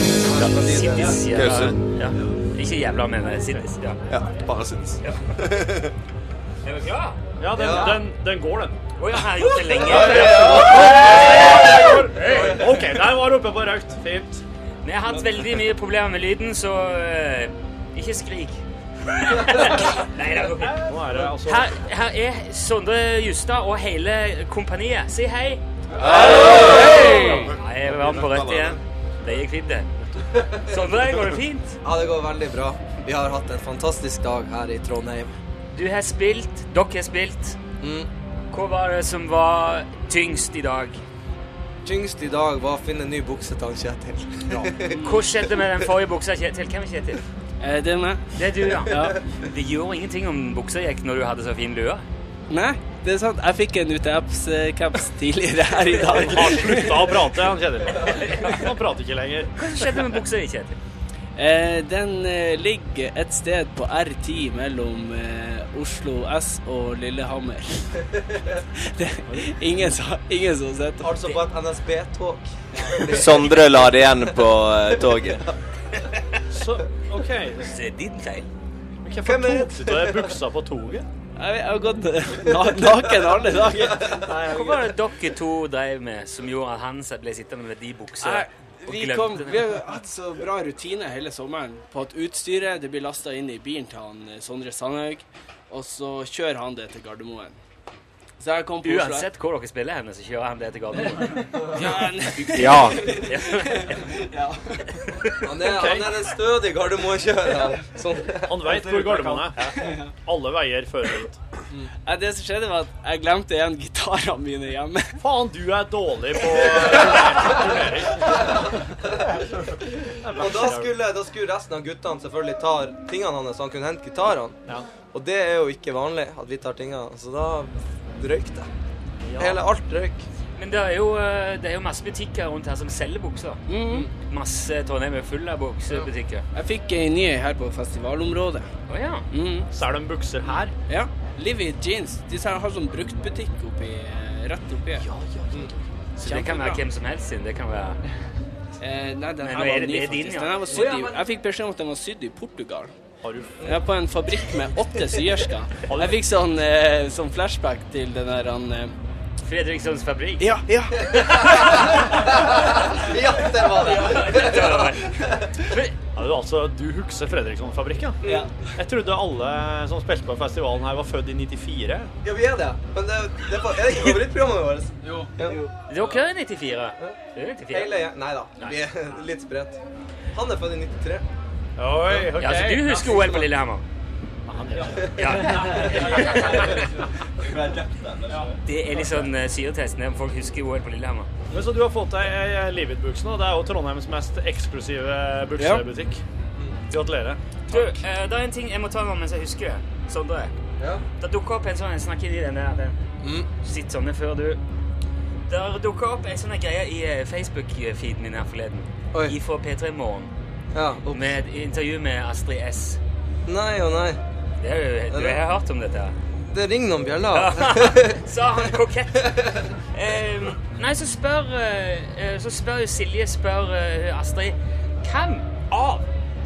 Siddis. Ja, Pause. ja. Ikke jævla, men eh, Siddis. Ja. Ja, bare sinnes. Er du klar? Ja, den, Ja. Den, den går, den. Å ja, jeg har gjort det lenge. OK, der var du oppe på røkt. Fint. Men jeg har hatt veldig mye problemer med lyden, så eh, ikke skrik. Nei, det er ok. Nå er det altså Her, her er Sondre Justad og hele kompaniet. Si hei. Hei! Jeg var på rett igjen. Det gikk fint, det. Sondre, går det fint? Ja, det går veldig bra. Vi har hatt en fantastisk dag her i Trondheim. Du har spilt, dere har spilt. Mm. Hva var det som var tyngst i dag? Tyngst i dag var å finne ny bukse til han Kjetil. Hva skjedde med den forrige buksa, Kjetil? Hvem er Kjetil? Eh, det er meg. Det er du, ja. Det gjorde ingenting om buksa gikk når du hadde så fin lue. Nei, det er sant. Jeg fikk en UTF-caps tidligere her i dag. Han slutta å prate, han kjenner. Han prater ikke lenger. Hva skjedde med buksa di, Kjetil? Eh, den eh, ligger et sted på R10 mellom eh, Oslo S og Lillehammer. det, ingen, sa- ingen som har sett det. Altså på et NSB-tog. Sondre la det igjen på eh, toget. Så, OK. Det er din feil. Men Hvorfor tok du av deg buksa på toget? Jeg, jeg har gått eh, na naken alle dager. Hva var det dere to drev med som gjorde at han ble sittende med de buksa? Jeg, vi, kom, vi har jo hatt så bra rutine hele sommeren på at utstyret det blir lasta inn i bilen til han eh, Sondre Sandhaug, og så kjører han det til Gardermoen. Så jeg kom på Oslo- Uansett hvor dere spiller henne, så kjører han det til Gardermoen. Ja, nei. Ja. Han er, han er en stødig Gardermoen-kjører. Sånn. Han veit hvor Gardermoen er. Alle veier fører dit. Nei, Det som skjedde, var at jeg glemte igjen gitarene mine hjemme. Faen, du er dårlig på turnering. Og da skulle, da skulle resten av guttene selvfølgelig ta tingene hans, så han kunne hente gitarene. Ja. Og det er jo ikke vanlig at vi tar tingene, så da røyk det. Hele alt røyk. Men det er, jo, eh, det er jo masse butikker rundt her som selger bukser. Masse Trondheim er full av buksebutikker. Mm. Jeg fikk ei ny her på festivalområdet. Å ja. Mm. Mhm. Ser de bukser her? Ja. Livy Jeans. Disse her har sånn bruktbutikk oppi eh, Rett oppi. Ja, ja, Så det kan være hvem som helst sin. Det kan være Eh, nei, den Men her nå er var det- ny, det er din, faktisk. ja. Den her var sydd i, jeg fikk beskjed om at den var sydd i Portugal. Har du Jeg er på en fabrikk med åtte syersker. Jeg fikk sånn, eh, sånn flashback til den der han eh, Fredrikssons fabrikk. Ja, ja. Ja, det var det. Ja, du, altså, du husker Fredriksson-fabrikken? Ja. Jeg trodde alle som spilte på festivalen her, var født i 94. Ja, vi er det. Men det, det er, er det ikke favorittprogrammet vårt? Jo. Dere er 94. Det er 94. Hele gjengen Nei da. Vi er litt spredt. Han er født i 93. Oi, ok. Ja, så du husker OL på Lillehammer? Ja. Det er litt sånn eh, syretesten om folk husker OL på Lillehammer. Men så du har fått deg ei Livet-bukse nå. Det er jo Trondheims mest eksklusive buksebutikk. Gratulerer. Du, eh, det er en ting jeg må ta med mens jeg husker det. Sondre. Ja. Det dukker opp en sånn Jeg snakker i den der. Den. Sitt sånne før du. Der dukka opp en sånn greie i eh, Facebook-feeden min her forleden. Oi. Ifra P3 Morgen. ja. og- Med et intervju med Astrid S. Nei og nei. Det er jo, du har hørt om dette? her. Det ringer noen bjeller. Sa han kokett. Eh, nei, så spør, eh, eh, så spør jo Silje spør eh, Astrid Hvem av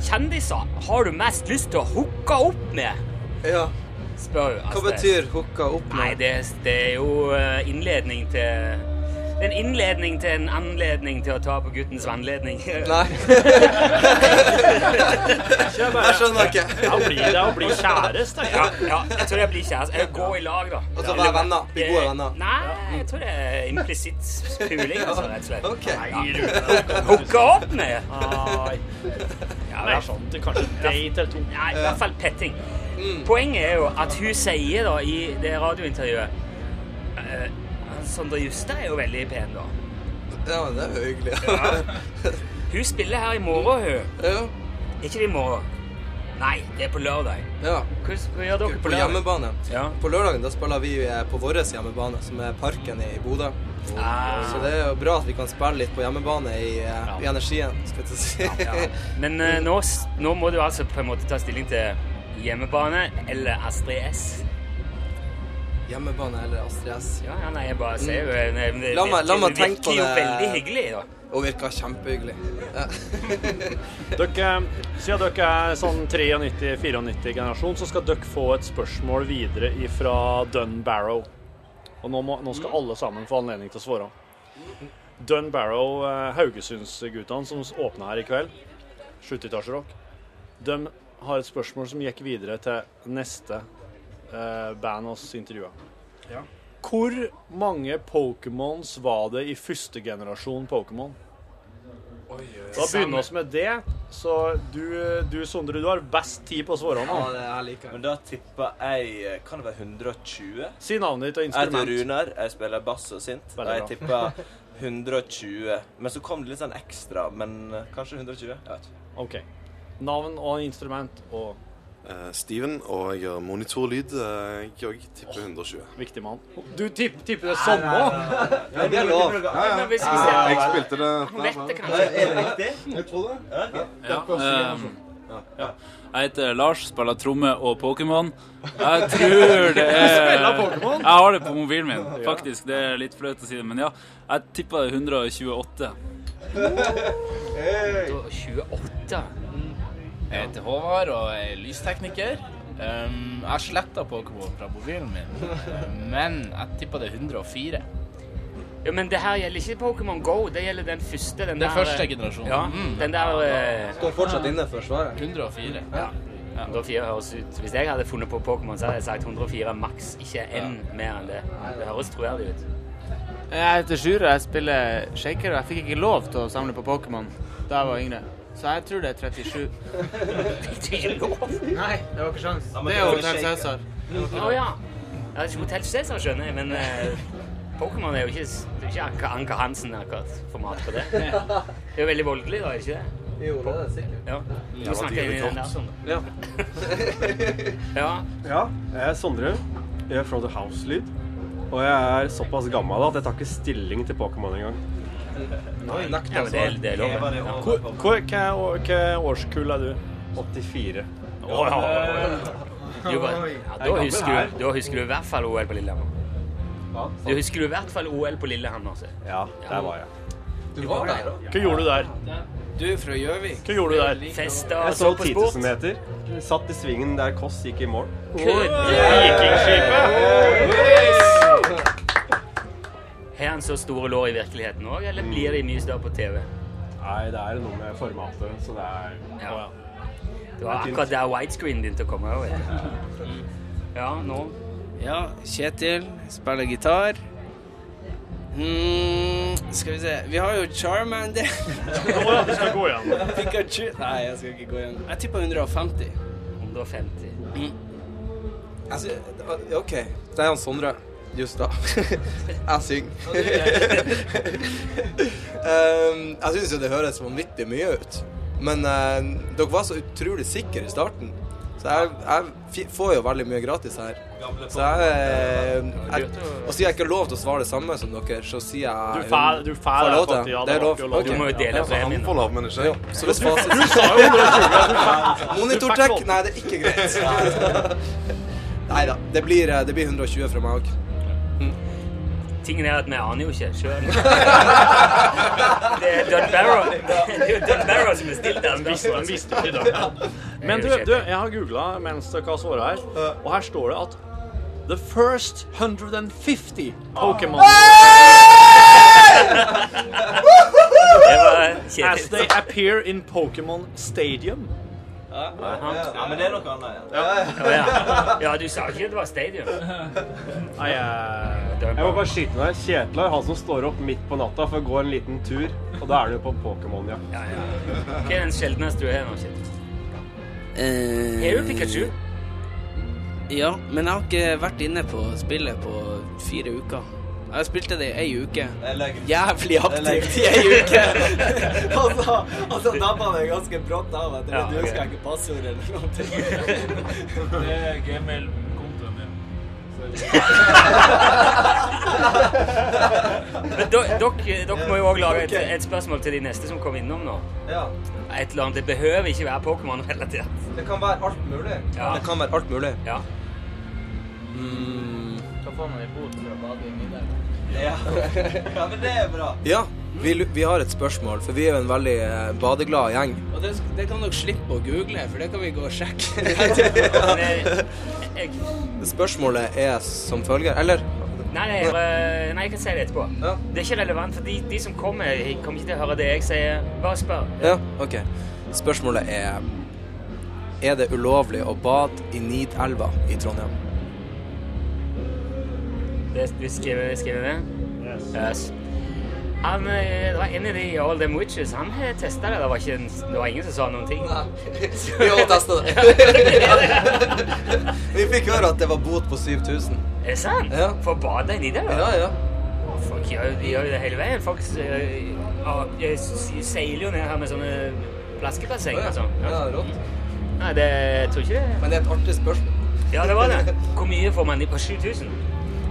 kjendiser har du mest lyst til å hooke opp med? Ja. spør Hva Astrid. betyr hooka opp nå? Nei, det, det er jo eh, innledning til det er en innledning til en anledning til å ta på guttens vannledning. Nei. Jeg skjønner ikke. Det er å bli, det er å bli kjæreste. Ja, ja, jeg tror jeg blir kjæreste. Jeg går i lag, da. Og så være venner. Bli gode venner. Nei, jeg tror det er implisitt puling, altså, rett og slett. Ok. Hooke opp med! Nei. Ja, det er sånn. Det er kanskje en date eller to. Nei, i hvert fall petting. Mm. Poenget er jo at hun sier da i det radiointervjuet eh, Sondre Justad er jo veldig pen, da. Ja, men det er jo hyggelig. Hun spiller her i morgen, hun. Ja. Er ikke det i morgen? Nei, det er på lørdag. ja. Hva, hva gjør dere På på lørdag? hjemmebane. Ja. På lørdagen da spiller vi eh, på vår hjemmebane, som er Parken i Bodø. Ah. Så det er jo bra at vi kan spille litt på hjemmebane i, eh, i energien, skal jeg til å si. Men eh, nå, s- nå må du altså på en måte ta stilling til Hjemmebane eller Astrid S? Hjemmebane eller Astrid S. Ja, ja, nei, jeg bare ser jo eh, men det- La meg- la meg det virker tenke på jo det. veldig hyggelig, da. Hun virka kjempehyggelig. Ja. Dere, siden dere er sånn 93-94-generasjon, så skal dere få et spørsmål videre ifra Dun Barrow. Og nå, må, nå skal alle sammen få anledning til å svare. Dun Barrow, eh, Haugesundsguttene som åpna her i kveld, 70-tallsrock, de har et spørsmål som gikk videre til neste eh, band oss intervjua. Ja. Hvor mange Pokémons var det i første generasjon Pokémon? Da begynner vi med det. Så du, du Sondre, du har best tid på å svare nå. det her liker Men da tipper jeg eh, Kan det være 120? Si navnet ditt og Jeg heter instrument. Runar, jeg spiller bass og sint. Og Veldig jeg tipper 120. Men så kom det litt sånn ekstra, men eh, kanskje 120? Jeg vet ikke. Ok. Navn og instrument og Eh, Steven, og jeg gjør monitorlyd. eh, Jeg òg tipper 120. viktig mann. Du tipp, tipper det samme? Ja, det er lov. Men hvis vi ser Jeg spilte det Han vet det kanskje. Jeg heter Lars, spiller tromme og Pokémon. Jeg tror det er Jeg har det på mobilen min, faktisk. Det er litt flaut å si det, men ja. Jeg tippa det er 128. 28. Jeg heter Håvard og er lystekniker. Ehm, Um, jeg har sletta Pokémon fra mobilen min, um, men jeg tippa det er 104. Ja, men det her gjelder ikke Pokémon Go, det gjelder den første. Den Den der, første eh, generasjonen. Ja, Mm, den der eh, Står fortsatt inne for svaret. 104. Ja. 104 høres ut Hvis jeg hadde funnet på Pokémon, så hadde jeg sagt 104 maks, ikke én mer enn det. Det høres troverdig ut. Jeg heter Sjure, jeg spiller shaker, og jeg fikk ikke lov til å samle på Pokémon da jeg var yngre. Så jeg tror det er 37. Det er ikke lov. Nei, det var ikke sjans. men Det det er er jo jo Hotel shaker. Cæsar. Å ja. Jeg er ikke Hotell Cæsar, skjønner jeg, men eh, Pokémon er jo ikke, det er ikke Anka, Anka Hansen akkurat format på det. Det er jo veldig voldelig, da, er det ikke det? Jo, det er sikkert. Ja. Du snakker inn i den der sånn. Ja. ja. Ja, jeg er Sondre. Jeg er fra The House-lyd. Og jeg er såpass gammel at jeg tar ikke stilling til Pokémon engang. Oi, ja, nekta men det, er- det er lov. Var det Ja. over? Hvor- hvor- Hva år- hva årskull er du? 84. Å, ja. Jo, bare- ja, da, husker du, da husker du i hvert fall OL på Lillehammer. Du husker du i hvert fall OL på Lillehammer. altså. Så. Ja, der var jeg. Du var der, da. Hva gjorde du der? Du er fra Gjøvik. Hva gjorde du der? Festa og Jeg så så på sport. 10 000 meter. Satt i svingen der Kåss gikk i mål. Har han så store lår i virkeligheten òg, eller blir de mye større på TV? Nei, det er noe med formatet, så det er Ja. Det var akkurat der widescreenen begynte å komme over. Ja, nå Ja, Kjetil spiller gitar. Mm, skal vi se Vi har jo Charmander. Å ja, du skal gå igjen. Pikachu. Nei, jeg skal ikke gå igjen. Jeg tippa 150. 150. Jeg sy det var- Altså, OK, det er han Sondre. Just da. jeg synger. um, jeg syns jo det høres vanvittig mye ut. Men eh, dere var så utrolig sikre i starten. Så jeg, jeg fi- får jo veldig mye gratis her. Så jeg, eh, jeg Og siden jeg ikke har lov til å svare det samme som dere, så sier Du jeg fær, du fær Får jeg lov til? faktisk, ja, Det er var lov. ikke lov. Ok. Du må jo dele Han premien. får lov, men ikke Jo, jeg. så det fasit. Du sa jo 120. Monitortrekk? Nei, det er ikke greit. Nei da. Det blir, eh, det blir 120 fra meg òg. Tingen er at vi aner jo ikke sjøl. Det er Dun Barrow. Det er jo Dun Barrow som bestilte den. Han visste ikke det. Men du, du jeg har googla mens dere har svaret her, og her står det at The first 150 Ah. Pokémon Det var as kjedelig. they appear in Pokémon Stadium. Ja, men det er noe annet. Ja. Ja. ja, du sa ikke det var stadium. Nei, eh, jeg- Dun Jeg må Barrow. bare skyte meg. Kjetil er han som står opp midt på natta for å gå en liten tur. Og da er han jo på Pokémon-jakt. Ja, ja. Hva er den sjeldneste du har nå, Kjetil? Er du Pikachu? Eh, Ja, men jeg har ikke vært inne på spillet på fire uker. Jeg spilte det i ei Jeg uke. legger Jævlig aktivt i ei uke! Og så, og så dabba det ganske brått av at Ja, ok. ikke passordet eller noe. Det er gmail-kontoen min. Men do- dere dere må jo òg lage et, et spørsmål til de neste som kommer innom nå. Ja. Et eller annet. Det behøver ikke være Pokémon-relatert. Det kan være alt mulig. Ja. Det kan være alt mulig. Ja. Da får man en bot for å bade i middag. Ja. ja, men det er bra. Ja, vi, lu- vi har et spørsmål, for vi er jo en veldig eh, badeglad gjeng. Og det, det kan dere slippe å google, for det kan vi gå og sjekke. eh, Spørsmålet er som følger, eller? Nei, nei, eh, nei, jeg kan si det etterpå. Det er ikke relevant, for de, de som kommer, jeg kommer ikke til å høre det jeg sier. Bare spør. Ja, ok. Spørsmålet er Er det ulovlig å bade i Nidelva i Trondheim? Det, du skriver, skriver det? Yes. Han, eh, det var en av de i All Them Witches. Han eh, testet det. Det var, ikke en, det var ingen som sa noen ting. Vi har testet det. Vi fikk høre at det var bot på 7000. Er det sant? Ja. For badet inni der? Ja, ja. Folk gjør, de gjør jo det hele veien. Folk eh, ja, jeg s- s- seiler jo ned her med sånne flaskebasseng. Ja, Altså. ja, rått. Nei, det jeg tror ikke det. Men det er et artig spørsmål. Ja, det var det. Hvor mye får man i på 7000?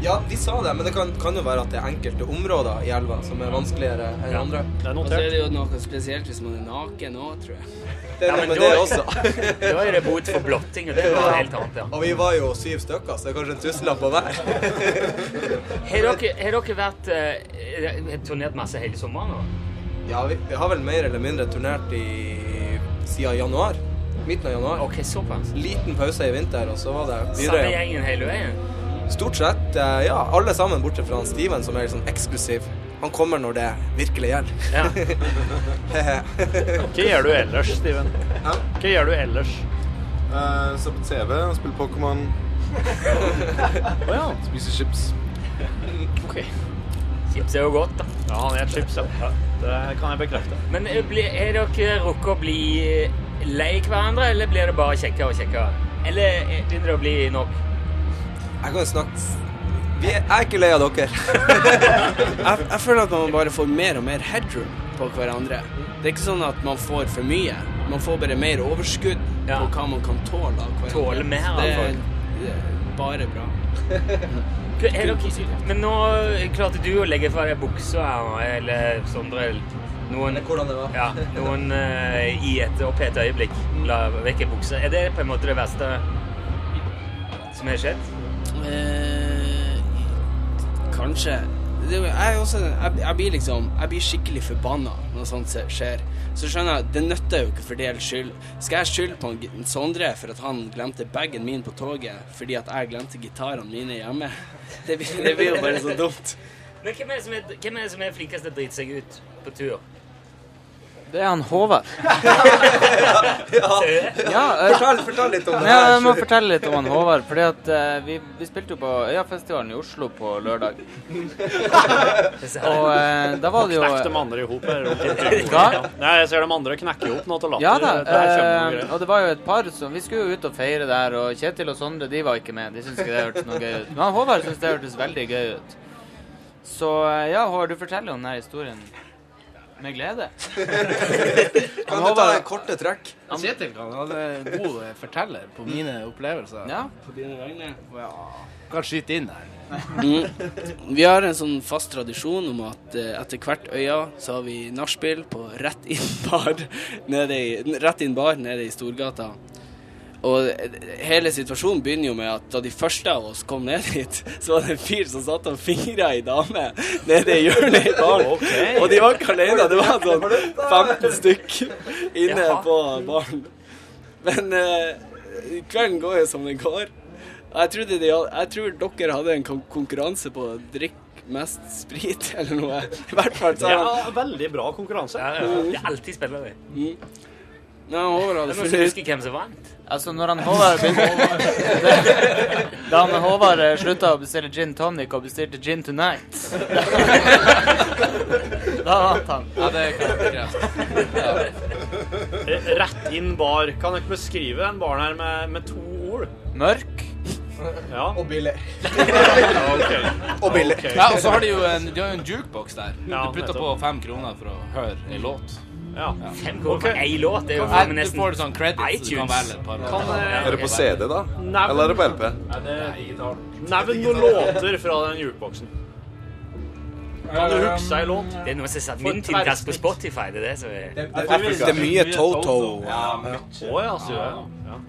Ja, de sa det, men det kan, kan jo være at det er enkelte områder i elva som er vanskeligere enn andre. Og så er det jo noe spesielt hvis man er naken òg, tror jeg. Det er noe med det også. da er det bot for blotting, og det er noe helt annet, ja. Og vi var jo syv stykker, så det er kanskje en tusenlapp på hver. Har dere, har dere vært eh, turnert masse hele sommeren? nå? Ja, vi, vi har vel mer eller mindre turnert i siden januar. Midten av januar. Ok, såpass. Liten pause i vinter, og så var det videre. Samme gjengen hele veien? Stort sett, eh, ja. Alle sammen, bortsett fra han Steven, som er litt sånn eksklusiv. Han kommer når det virkelig gjelder. Hva gjør du ellers, Steven? Hva gjør du ellers? Uh, ser på TV, spiller Pokémon. Spiser chips. Ok. Chips er jo godt, da. Ja, han er chips, ja. Det kan jeg bekrefte. Men eh, bli- har dere rukket å bli lei hverandre, eller blir det bare kjekkere og kjekkere? Eller eh, begynner det å bli nok? Jeg kan jo snakke vi er, Jeg er ikke lei av dere. jeg, jeg føler at man bare får mer og mer headroom på hverandre. Det er ikke sånn at man får for mye. Man får bare mer overskudd på hva man kan tåle av hverandre. Tåle mer av det, er- folk. det er bare bra. Hva- Er dere, men nå klarte du å legge fra deg buksa her, nå, eller Sondre eller noen, Hvordan det var. ja, noen eh, i et opphetet øyeblikk la vekk en bukse. Er det på en måte det verste som har skjedd? Eh, kanskje. Det, er jo- jeg, er også, jeg, jeg blir liksom Jeg blir skikkelig forbanna når sånt se- skjer. Så skjønner jeg, det nytter jo ikke for deres skyld. Skal jeg skylde på han G- Sondre for at han glemte bagen min på toget fordi at jeg glemte gitarene mine hjemme? Det, blir- det blir jo bare så dumt. Men hvem er det som er, hvem er, det som er flinkest til å drite seg ut på tur? Det er han Håvard. Ser du det? Ja, eh, Fortell, fortell litt om det Ja, her. jeg må fortelle litt om han Håvard. Fordi at eh, vi, vi spilte jo på Øyafestivalen i Oslo på lørdag. Og eh, da var det jo Knekk de andre i hop her. rundt omkring. Hva? Nei, jeg ser de andre knekke i hop nå til latter. Ja da. Det er kjempegreier. eh, og det var jo et par som Vi skulle jo ut og feire der, og Kjetil og Sondre de var ikke med. De syntes ikke det hørtes noe gøy ut. Men han Håvard syntes det hørtes veldig gøy ut. Så eh, ja, Håvard, du forteller om denne historien med glede. Kan du ta en korte trekk? Kjetil kan være en god eh, forteller på mine opplevelser. Ja. På dine vegne. Kan skyte inn her. Mm. Vi har en sånn fast tradisjon om at eh, etter hvert øya så har vi nachspiel på rett inn bar nede i, rett inn bar nede i Storgata. Og eh, hele situasjonen begynner jo med at da de første av oss kom ned hit, så var det en fyr som satt og fingra ei dame nede i hjørnet i baren. Og de var ikke alene, det var sånn 15 stykk inne Jaha. på baren. Men eh, kvelden går jo som den går. Og Jeg, trodde de, had- jeg tror dere hadde en kon- konkurranse på å drikke mest sprit, eller noe. I hvert fall så hadde Ja, veldig bra konkurranse. Det er alltid spennende. Nei, Håvard Men nå hadde funnet skal ut jeg huske hvem som vant. Altså, når han Håvard begynte Da han Håvard eh, slutta å bestille gin tonic og bestilte gin tonight Da vant han. Ja, det kan jeg bekrefte. Rett inn bar. Kan dere beskrive den baren her med, med to ord? Mørk. Ja. Og billig. OK. Og billig. Ok. Ja, og så har de jo en, de har jo en jukebox der. Ja, Du putter på nettopp. fem kroner for å høre ei låt. Ja. Fem kroner for én låt, det er jo Nei, faen meg du nesten får sånn credits, så du kan iTunes. velge et par Kan, låter. eh, Er det på CD, da? Eller er det på LP? Nei, det er digitalt. Nevn noen låter fra den jukeboksen. Kan du huske ei låt? Det er noen som har satt min Tintas på Spotify. Det er det som er Det er Afrika. Det er mye Toto. ja, sier jeg. Ja.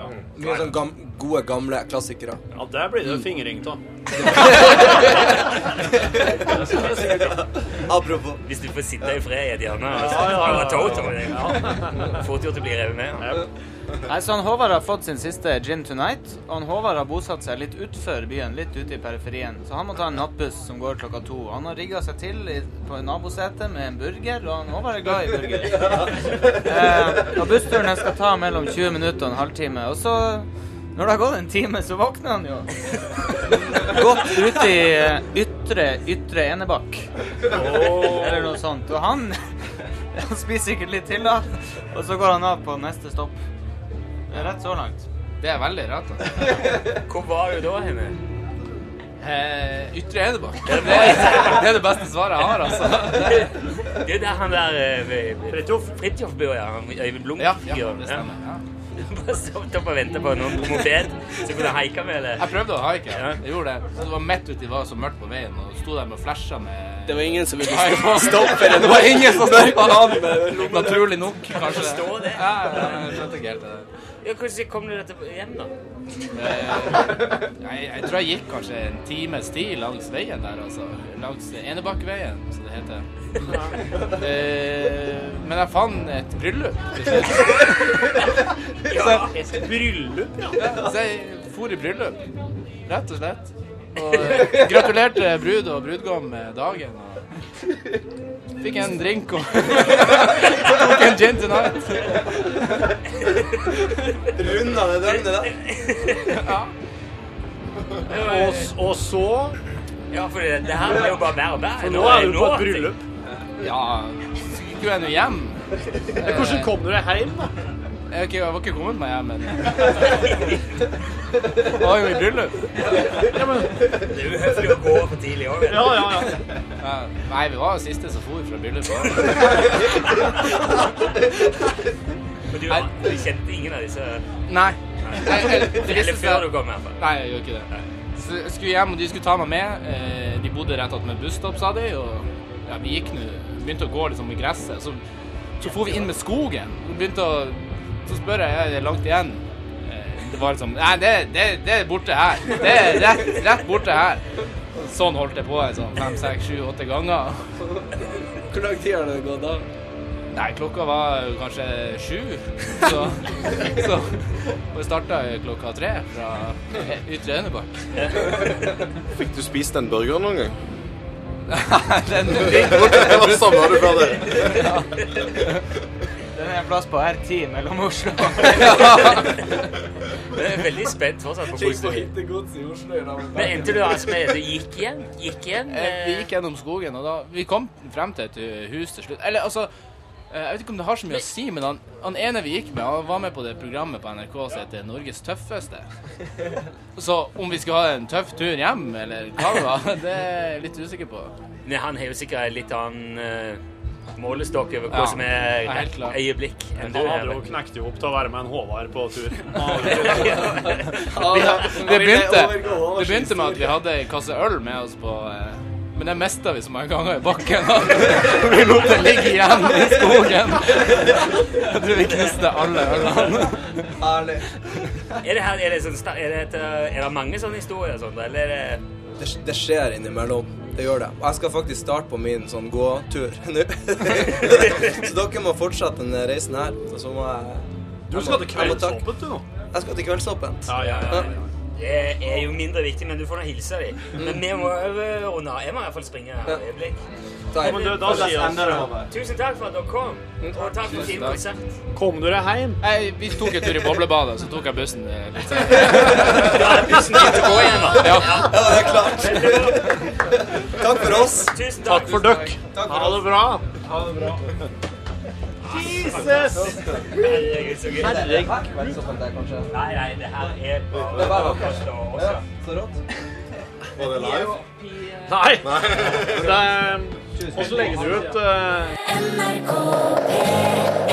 Ja. Mye sånn gam gode, gamle klassikere. Ja, der blir det fingring av. Apropos. Hvis du får sitte i fred i et hjørne altså. og Ja, ja, ja. høre Toto det er Fort gjort å bli revet med. ja. Nei, så han Håvard har fått sin siste gin tonight, og han Håvard har bosatt seg litt utfor byen, litt ute i periferien. Så han må ta en nattbuss som går klokka to. Han har rigga seg til i, på nabosetet med en burger, og han Håvard er glad i burger. eh, og bussturen den skal ta mellom 20 minutter og en halvtime. Og så, når det har gått en time, så våkner han jo. Godt ute i eh, ytre, ytre Enebakk. Eller noe sånt. Og han, han spiser sikkert litt til, da. Og så går han av på neste stopp. Det er rett så langt. Det er veldig rart. da. Hvor var du da henne? Eh, ytre Enebakk. Det, det er det beste svaret jeg har, altså. Det er der han der eh, Fridtjof Fridtjof bor, ja. Han Øyvind Blunk. Ja, ja, det stemmer, Bare stått opp og ventet på noen på moped som kunne haika med det. Jeg prøvde å haike. Jeg gjorde det. Så det var midt uti var så mørkt på veien, og sto der med flasha med Det var ingen som ville iPhone. stoppe den. Det var ingen som stoppa han. Lommelykt. Naturlig nok, Jeg kanskje. forstår det. Ja, ja, jeg skjønte ikke helt det. der. Ja, Hvordan kom du dette hjem, da? Eh, Jeg, jeg tror jeg gikk kanskje en times tid langs veien der, altså. Langs Enebakkveien, som det heter. Eh, Men jeg fant et bryllup til slutt. Ja, et bryllup, ja. Så jeg for i bryllup, rett og slett. Og eh, gratulerte brud og brudgom med dagen. Og fikk en drink og tok en gin tonight. Runda det døgnet, da. Og, s- og så Ja, for det, det her blir jo bare mer og mer. For nå er du på et bryllup. Ja, så gikk jo jeg nå hjem. Men Hvordan kom du deg hjem, da? Jeg, ok, jeg var ikke kommet meg hjem ennå. Jeg var jo i bryllup. Ja, men Det er uhøflig å gå for tidlig òg. Ja, ja, ja. Ja, Nei, vi var jo siste som for fra bryllupet. Men du, du kjente ingen av disse Nei. Nei, Eller, det viste seg- før du kom, i hvert fall. Nei, jeg gjorde ikke det. Så jeg skulle hjem, og de skulle ta meg med. Eh, De bodde rett attmed busstopp, sa de. Og ja, vi gikk nå Begynte å gå liksom i gresset. Så, så for vi inn med skogen. Og begynte å Så spør jeg, er det langt igjen? Eh, Det var liksom Nei, det, det, det er borte her. Det er rett, rett borte her. Sånn holdt jeg på en sånn fem, seks, sju, åtte ganger. Hvor lang tid har det gått da? Nei, klokka var jo kanskje sju. Så, så og jeg starta klokka tre fra Ytre Enebakk. Fikk du spist den burgeren noen gang? Den ligger borte. Det var samme du fra det. Ja. Den er en plass på R10 mellom Oslo. Men jeg er veldig spent fortsatt på hvordan du Men endte du altså med at du gikk hjem? Gikk hjem? Eh, Vi gikk gjennom skogen, og da Vi kom frem til et eh, hus til slutt. Eller altså eh, Jeg vet ikke om det har så mye å si, men han, han ene vi gikk med, han var med på det programmet på NRK som heter Norges tøffeste. Så om vi skulle ha en tøff tur hjem, eller hva det var, det er jeg litt usikker på. Men han har jo sikkert en litt annen eh, målestokk over hva Ja, som er ja, helt klart. øyeblikk enn Han du hadde har. jo knekt jo opp til å være med en Håvard på tur. det, det, begynte, det begynte med at vi hadde en kasse øl med oss på eh, Men det mista vi så mange ganger i bakken. og Vi lot det ligge igjen i skogen. Jeg tror vi knuste alle ølene. Herlig. Er det, her, er, det sånn, sta- er, det et, eh, er det mange sånne historier og sånt, eller er det Det, det skjer innimellom. Det gjør det. Og jeg skal faktisk starte på min sånn gåtur nå. så dere må fortsette denne reisen her. Og så må jeg Du jeg skal må- til jeg må takke- Kveldsåpent, du nå. Jeg skal til Kveldsåpent. Ja, ja, ja, ja. Det er jo mindre viktig, men du får nå hilse dem. Men vi må over og nå. Jeg må i hvert fall springe et øyeblikk. Ja, men du, da sier jeg Tusen takk for at dere kom, og takk for fin konsert. Kom dere hjem? Nei, vi tok en tur i boblebadet, så tok jeg bussen eh, litt Ja, bussen begynte å gå igjen, da. Ja. det er klart. Takk for oss. Tusen Takk for døkk. Ha det bra. Ha det bra. Jesus! Herregud, så gøy. Herregud. Nei, nei, det her er bare Ja, så rått. Var det live? Nei. Det er- Og så legger du ut eh, NRK P1